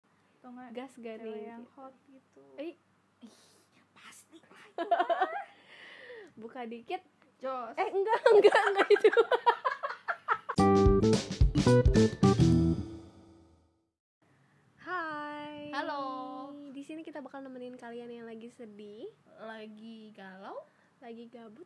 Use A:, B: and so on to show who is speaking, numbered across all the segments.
A: Gitu,
B: atau enggak
A: Gas gak
B: cewek
A: nih?
B: yang
A: gitu.
B: hot gitu
A: Ih,
B: pasti lah
A: buka dikit.
B: jos
A: Eh, enggak, enggak, enggak itu. Hai.
B: Halo.
A: Di sini kita bakal nemenin kalian yang lagi sedih,
B: lagi galau
A: lagi gabut.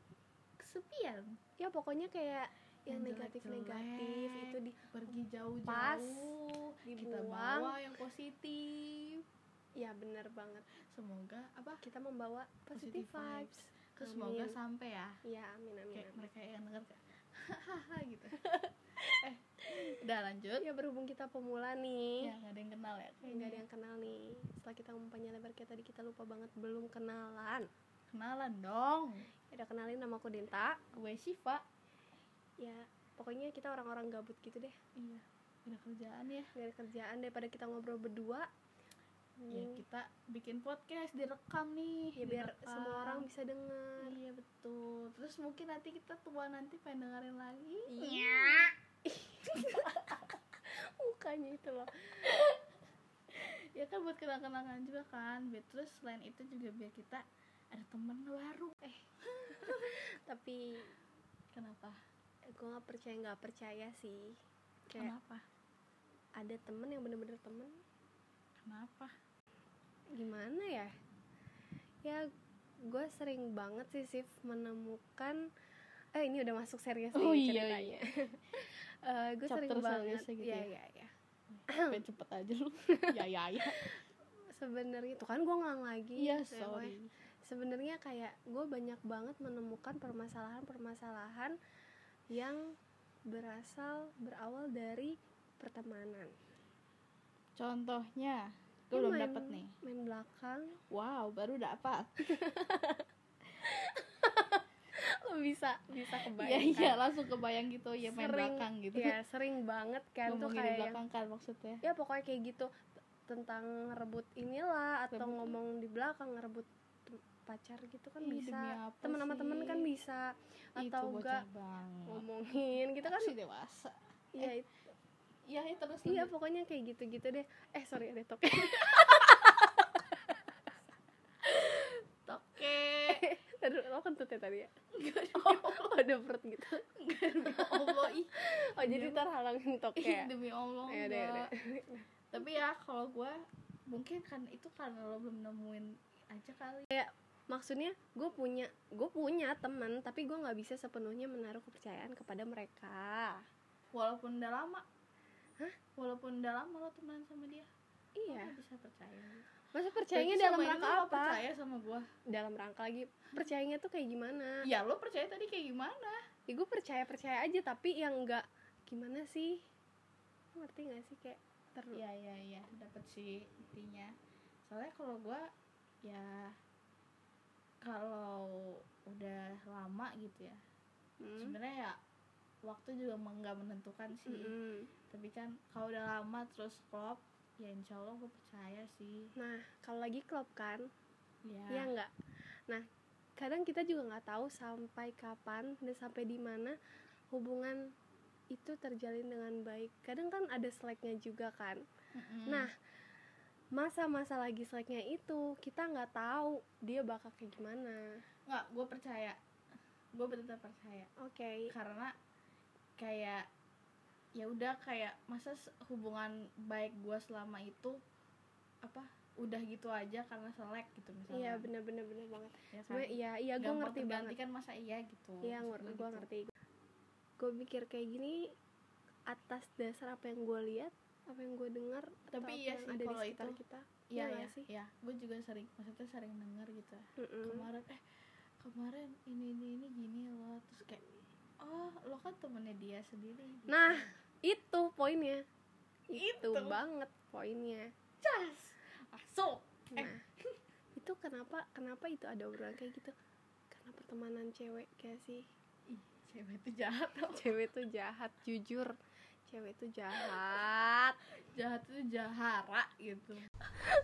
B: kesepian
A: Ya pokoknya kayak yang
B: Yang
A: negatif-negatif
B: jelek-jelek.
A: itu di
B: pergi
A: Pas,
B: jauh-jauh kita
A: dibuang.
B: bawa yang positif
A: Ya bener banget.
B: semoga apa
A: Kita membawa positive,
B: Positive
A: vibes.
B: ke
A: Amin.
B: semoga sampai ya
A: Ya, amin amin.
B: kayak
A: amin.
B: mereka yang denger kayak hahaha gitu eh udah lanjut
A: Ya berhubung kita pemula nih.
B: ya nggak ada yang kenal ya
A: Iya, nggak ada yang kenal nih setelah kita umpannya lebar kayak tadi kita lupa banget belum kenalan Ya
B: kenalan dong
A: udah kenalin nama aku Denta
B: gue Siva
A: ya pokoknya kita orang-orang gabut gitu deh
B: iya udah kerjaan ya
A: nggak ada kerjaan daripada kita ngobrol berdua
B: ya
A: mending
B: kita bikin podcast direkam nih
A: ya biar
B: direkam.
A: semua orang bisa dengar
B: iya betul terus mungkin nanti kita tua nanti pengen dengerin lagi
A: Iya.
B: Iya.
A: mukanya itu loh
B: ya kan buat kenang-kenangan juga kan biar terus selain itu juga biar kita ada teman baru eh
A: tapi
B: kenapa
A: gue nggak percaya nggak percaya sih kayak
B: kenapa
A: ada temen yang bener-bener temen
B: kenapa
A: gimana ya ya gue sering banget sih Sif menemukan eh ini udah masuk serius nih
B: Oh, iya,
A: ceritanya Eh, gue sering
B: Chapter
A: banget
B: seriusnya gitu
A: ya,
B: ya?
A: ya, ya.
B: Pengen cepet aja lu ya ya
A: Iya,
B: ya
A: sebenarnya tuh kan gue ngang lagi
B: iya
A: cewek.
B: sorry
A: sebenarnya kayak gue banyak banget menemukan permasalahan-permasalahan yang berasal berawal dari pertemanan
B: contohnya
A: Ini
B: gue belum
A: main-
B: dapet nih
A: main belakang
B: wow baru dapat
A: lo bisa bisa
B: ya
A: kebayang kan?
B: iya langsung kebayang gitu ya main belakang gitu
A: ya sering banget kan tuh
B: ngomongin di
A: kayak yang
B: belakang kan maksudnya
A: ya pokoknya kayak gitu t- tentang rebut inilah atau
B: Rebut.
A: ngomong di belakang ngerebut tem- pacar gitu kan
B: Ih,
A: bisa
B: demi apa
A: teman sama teman
B: sih?
A: kan bisa atau
B: itu
A: enggak
B: bocah banget
A: ngomongin gitu kan
B: si dewasa
A: ya
B: eh,
A: it-
B: iya ya, terus
A: iya
B: lanjut.
A: pokoknya kayak gitu gitu deh eh sorry ada tok
B: toke
A: Aduh, lo kentut ya tadi ya oh, ada perut gitu
B: allah ih
A: oh jadi ntar halangin tok
B: Iya. Ih,
A: ya
B: demi allah
A: ya deh
B: enggak. tapi ya kalau gue mungkin kan itu karena lo belum nemuin aja kali
A: maksudnya gue punya gue punya teman tapi gue nggak bisa sepenuhnya menaruh kepercayaan kepada mereka
B: walaupun udah lama walaupun udah lama lo temenan sama dia lo
A: iya
B: nggak bisa percaya
A: masa percayanya
B: Berarti
A: dalam
B: selama ini
A: rangka
B: lo nggak
A: apa
B: percaya sama gue
A: dalam rangka lagi percayanya tuh kayak gimana
B: ya lo percaya tadi kayak gimana
A: ya gue percaya percaya aja tapi yang enggak gimana sih Lu ngerti gak sih kayak terus
B: Iya iya iya dapat sih intinya. Soalnya kalau gua ya kalau udah lama gitu ya.
A: Hmm?
B: Sebenarnya ya waktu juga men- nggak menentukan sih. Tapi kan kalau udah lama terus klop ya insya Allah gue percaya sih
A: nah kalau lagi klop kan
B: ya,
A: ya enggak nah kadang kita juga nggak tahu sampai kapan dan sampai di mana hubungan itu terjalin dengan baik kadang kan ada slacknya juga kan
B: Mm-mm.
A: Nah, masa-masa lagi slacknya itu kita nggak tahu dia bakal kayak gimana.
B: nggak gue percaya gue benar percaya
A: Oke.
B: karena kayak ya udah kayak masa se- hubungan baik gua selama itu apa udah gitu aja karena selek gitu misalnya
A: Iya bener-bener bener banget.
B: ya kan?
A: Sebenernya iya iya gue
B: Gampang
A: ngerti banget.
B: tergantikan, masa iya gitu
A: Iya
B: Maksud gua
A: gue
B: gitu.
A: ngerti. Gue mikir kayak gini atas dasar apa yang gue lihat, apa yang gue dengar, atau
B: Tapi
A: apa
B: iya
A: yang
B: sih,
A: ada di
B: kalau
A: sekitar
B: itu-
A: kita.
B: iya
A: Iya
B: ya,
A: nggak sih?
B: iya gue juga sering maksudnya sering denger gitu ya.
A: Mm-mm.
B: kemarin eh kemarin ini ini ini gini loh terus kayak oh lo kan temennya dia sendiri gitu.
A: Nah itu poinnya. Itu,
B: Itu.
A: banget poinnya.
B: cas masuk Eh.
A: Nah itu kenapa kenapa itu ada obrolan kayak gitu? Karena pertemanan cewek kayak sih.
B: Ih, cewek itu jahat loh.
A: cewek tuh jahat jujur cewek tuh jahat
B: jahat itu jahara gitu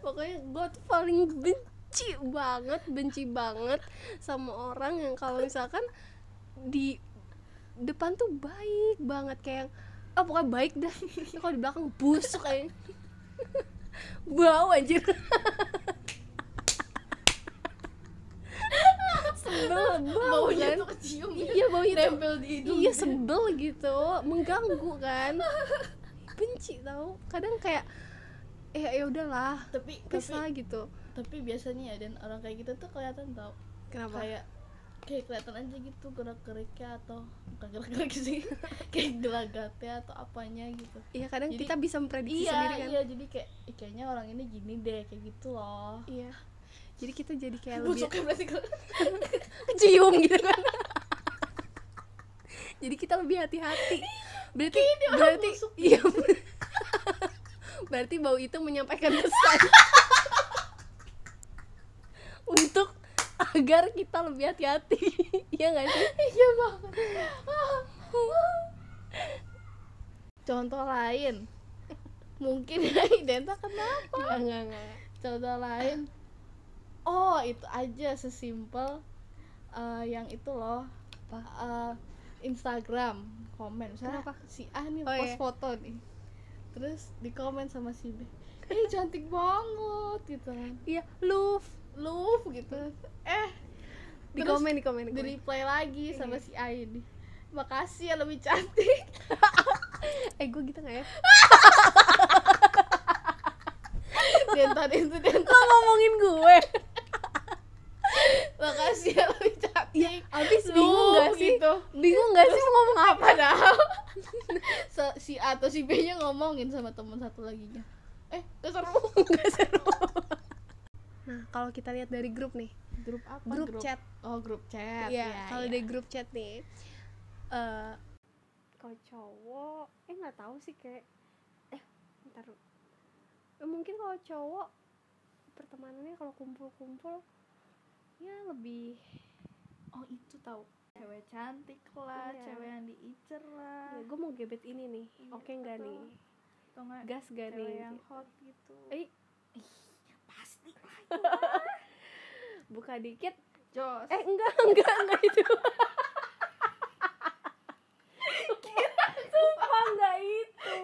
A: pokoknya gue tuh paling benci banget benci banget sama orang yang kalau misalkan di depan tuh "Oh, baik banget kayak yang, ah pokoknya baik dah Tapi kalau di belakang busuk kayak bau anjir sebel bau
B: baunya
A: kan
B: tuh kecium gitu.
A: iya bau itu
B: nempel di hidung
A: iya sebel gitu mengganggu kan benci tau kadang kayak eh ya udahlah
B: tapi tapi
A: kesah gitu
B: tapi biasanya ya dan orang kayak gitu tuh kelihatan tau
A: kenapa ya?
B: kayak kayak kelihatan aja gitu gerak geriknya atau bukan gerak gerik sih kayak gelagatnya atau apanya gitu
A: iya kadang
B: jadi-
A: kita bisa memprediksi
B: iya
A: sendiri kan
B: iya jadi kayak "Ih, kayaknya orang ini gini deh kayak gitu loh
A: Iya. Jadi kita jadi kayak lebih
B: busuk kan berarti kalau
A: kecium gitu kan. jadi kita lebih hati-hati. Berarti
B: orang
A: berarti
B: busuk.
A: iya. ber- berarti bau itu menyampaikan pesan. Untuk agar kita lebih hati-hati. Iya Ah. nggak sih?
B: iya banget contoh lain mungkin ya Denta kenapa
A: Enggak, enggak, enggak.
B: contoh lain oh itu aja sesimpel eh, yang itu loh
A: Apa?
B: Eh, Instagram komen misalnya
A: Kenapa?
B: si A nih
A: Oh,
B: post
A: iya.
B: foto nih terus di komen sama si B eh cantik banget gitu kan
A: Iya, love.
B: love gitu eh
A: Di
B: Terus
A: komen, di komen, di
B: di
A: komen.
B: reply lagi
A: Iya.
B: sama si A ini makasih ya lebih cantik
A: Eh, gue gitu nggak ya?
B: denta denta denta
A: Lo ngomongin gue.
B: makasih ya lebih cantik
A: Iya, abis bingung
B: Lu,
A: nggak sih?
B: gitu.
A: Bingung nggak sih mau ngomong apa?
B: padahal se- si A atau si B nya ngomongin sama temen satu lagi nya eh gak seru
A: Nah, kalau kita lihat dari grup nih,
B: grup apa
A: grup, chat.
B: oh grup chat
A: Iya,
B: ya,
A: kalau
B: ya.
A: dari grup chat nih. eh kalau cowok, eh nggak tahu sih kayak eh ntar dulu. Eh, mungkin kalau cowok pertemanannya kalau kumpul-kumpul ya lebih
B: oh itu tahu cewek cantik lah
A: Iya.
B: cewek yang diincer lah
A: gue ya mau gebet ini nih
B: Iya,
A: oke nggak
B: betul.
A: nih
B: atau nggak
A: gas gak
B: cewek
A: nih
B: yang
A: Gitu.
B: hot gitu
A: Ih,
B: pasti
A: buka dikit
B: jos
A: eh enggak enggak enggak itu sumpah enggak itu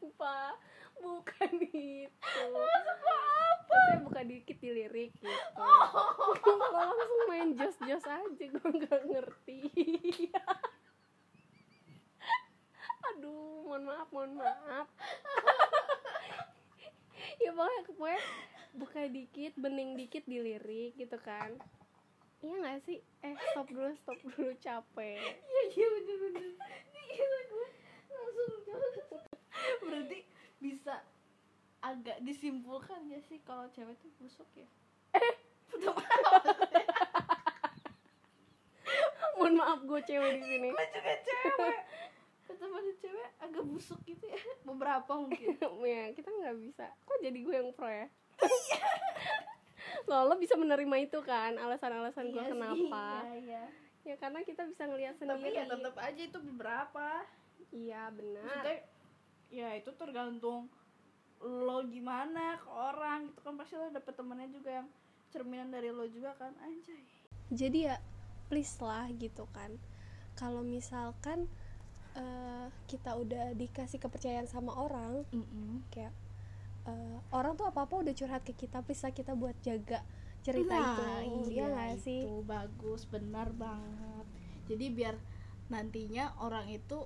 A: sumpah bukan itu maksudnya buka dikit dilirik gitu Lo langsung main jos jos aja gue nggak ngerti aduh mohon maaf mohon maaf ya pokoknya pokoknya buka dikit bening dikit dilirik gitu kan iya nggak sih eh stop dulu stop dulu capek
B: iya iya bener bener iya gue langsung jos berarti bisa agak disimpulkan ya sih kalau cewek tuh busuk ya
A: Eh, mohon maaf gue cewek di sini
B: gue juga cewek ketemu sama cewek agak busuk gitu ya beberapa mungkin
A: ya kita nggak bisa kok jadi gue yang pro ya
B: Iya.
A: lo lo bisa menerima itu kan alasan-alasan gue
B: Iya sih,
A: kenapa
B: iya, iya.
A: ya karena kita bisa ngelihat
B: tapi
A: sendiri
B: ya tetap aja itu beberapa
A: iya benar
B: maksudnya ya itu tergantung lo gimana ke orang gitu kan pasti lo dapet temennya juga yang cerminan dari lo juga kan anjay
A: jadi ya please lah gitu kan kalau misalkan eh, kita udah dikasih kepercayaan sama orang kayak eh, orang tuh apa apa udah curhat ke kita bisa kita buat jaga cerita
B: Nah,
A: itu iya nggak sih
B: itu bagus benar banget jadi biar nantinya orang itu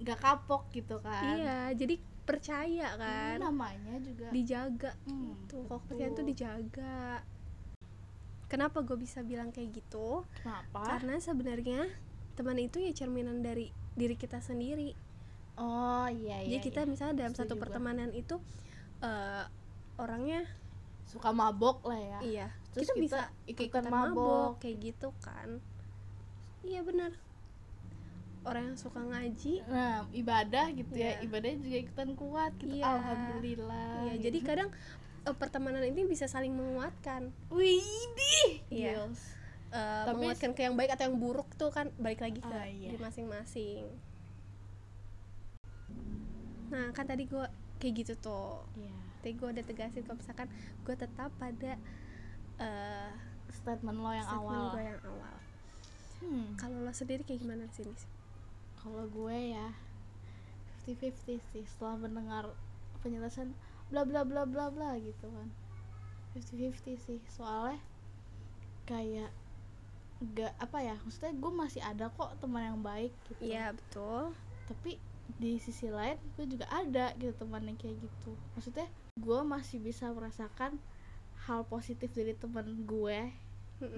B: nggak kapok gitu kan
A: iya jadi percaya kan
B: Ini namanya juga
A: dijaga
B: Hmm,
A: tuh kalau kepercayaan tuh
B: betul.
A: dijaga kenapa gue bisa bilang kayak gitu
B: kenapa
A: karena sebenarnya teman itu ya cerminan dari diri kita sendiri
B: oh iya iya
A: jadi kita misalnya dalam
B: Setuju
A: satu
B: gua.
A: pertemanan itu eh, orangnya
B: iya. suka mabok lah ya
A: iya
B: Terus
A: kita,
B: kita
A: bisa
B: ikutan
A: ikutan mabok
B: mabok.
A: kayak gitu kan iya benar orang yang suka ngaji
B: nah ibadah gitu ya
A: Iya.
B: ibadahnya juga ikutan kuat gitu
A: Iya.
B: alhamdulillah
A: iya jadi kadang eh, pertemanan ini bisa saling menguatkan
B: widih
A: Iya.
B: Gils.
A: Eh,
B: Tapi-
A: menguatkan ke yang baik atau yang buruk tuh kan balik lagi ke
B: Ah, iya.
A: diri masing-masing nah kan tadi gue kayak gitu tuh
B: Iya.
A: tadi gue udah tegasin kalau misalkan gue tetap pada eh
B: statement lo yang
A: statement
B: awal
A: gue yang awal
B: Hmm.
A: kalau lo sendiri kayak gimana sih Nis?
B: kalau gue ya 50-50 sih setelah mendengar penjelasan bla bla bla bla bla gitu kan 50-50 sih soalnya kayak gak apa ya maksudnya gue masih ada kok teman yang baik gitu
A: Iya betul.
B: tapi di sisi lain gue juga ada gitu teman yang kayak gitu maksudnya gue masih bisa merasakan hal positif dari teman gue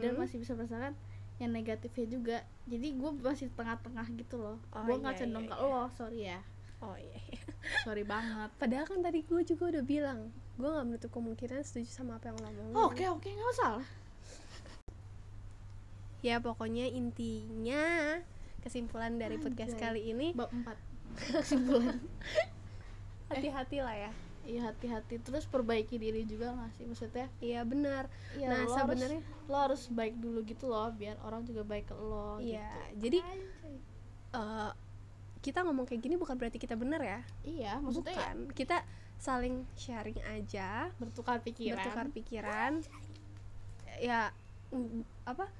B: dan masih bisa merasakan yang negatifnya juga jadi gue masih tengah-tengah gitu loh
A: Oh,
B: gue nggak
A: iya,
B: cenderung
A: iya,
B: ke lo sorry ya
A: Oh iya. iya.
B: sorry banget
A: Padahal kan tadi gue juga udah bilang, gue nggak menutup kemungkinan setuju sama apa yang lo omongin.
B: Oh, oke oke nggak masalah
A: Ya pokoknya intinya kesimpulan dari podcast
B: Anjay.
A: kali ini
B: bab 4 kesimpulan
A: hati-hati lah ya.
B: iya hati-hati terus perbaiki diri juga nggak sih maksudnya
A: Iya benar.
B: ya
A: Nah,
B: lo
A: sebenarnya-
B: harus, lo harus baik dulu gitu loh biar orang juga baik ke lo
A: Iya.
B: gitu
A: Jadi
B: Anjay.
A: eh, kita ngomong kayak gini bukan berarti kita benar ya.
B: iya maksudnya ya,
A: bukan. Kita saling sharing aja,
B: bertukar pikiran
A: bertukar pikiran. Ya mm, apa?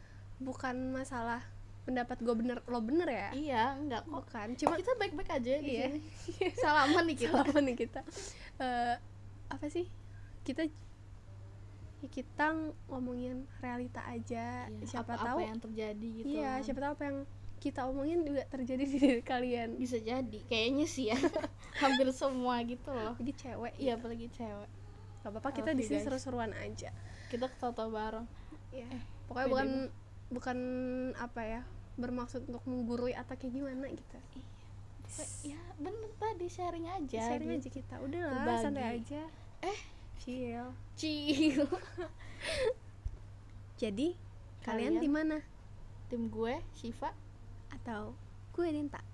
A: Bukan masalah pendapat gue bener lo bener ya.
B: iya enggak kok
A: Bukan. Cuma
B: kita baik-baik aja di
A: Iya.
B: sini salaman nih kita
A: apa nih kita Eh, apa sih kita ya kita ngomongin realita aja
B: Iya,
A: siapa
B: apa,
A: tahu
B: apa yang terjadi gitu
A: iya
B: kan.
A: siapa tahu apa yang kita omongin juga terjadi di diri kalian
B: bisa jadi kayaknya sih ya hampir semua gitu loh
A: bagi cewek
B: iya
A: ya
B: apalagi cewek
A: nggak apa-apa kita
B: Oke,
A: di sini
B: guys. Eh,
A: seru-seruan aja
B: kita ketawa bareng
A: ya pokoknya
B: pede
A: bukan bukan apa ya bermaksud untuk menggurui atau kayak gimana gitu
B: ya bener tadi sharing aja
A: sharing
B: gitu.
A: aja kita udahlah
B: Berbagi.
A: santai aja
B: Eh.
A: chill
B: Cil.
A: jadi kalian,
B: Kalian?
A: di mana
B: tim gue Shiva
A: atau gue Dinta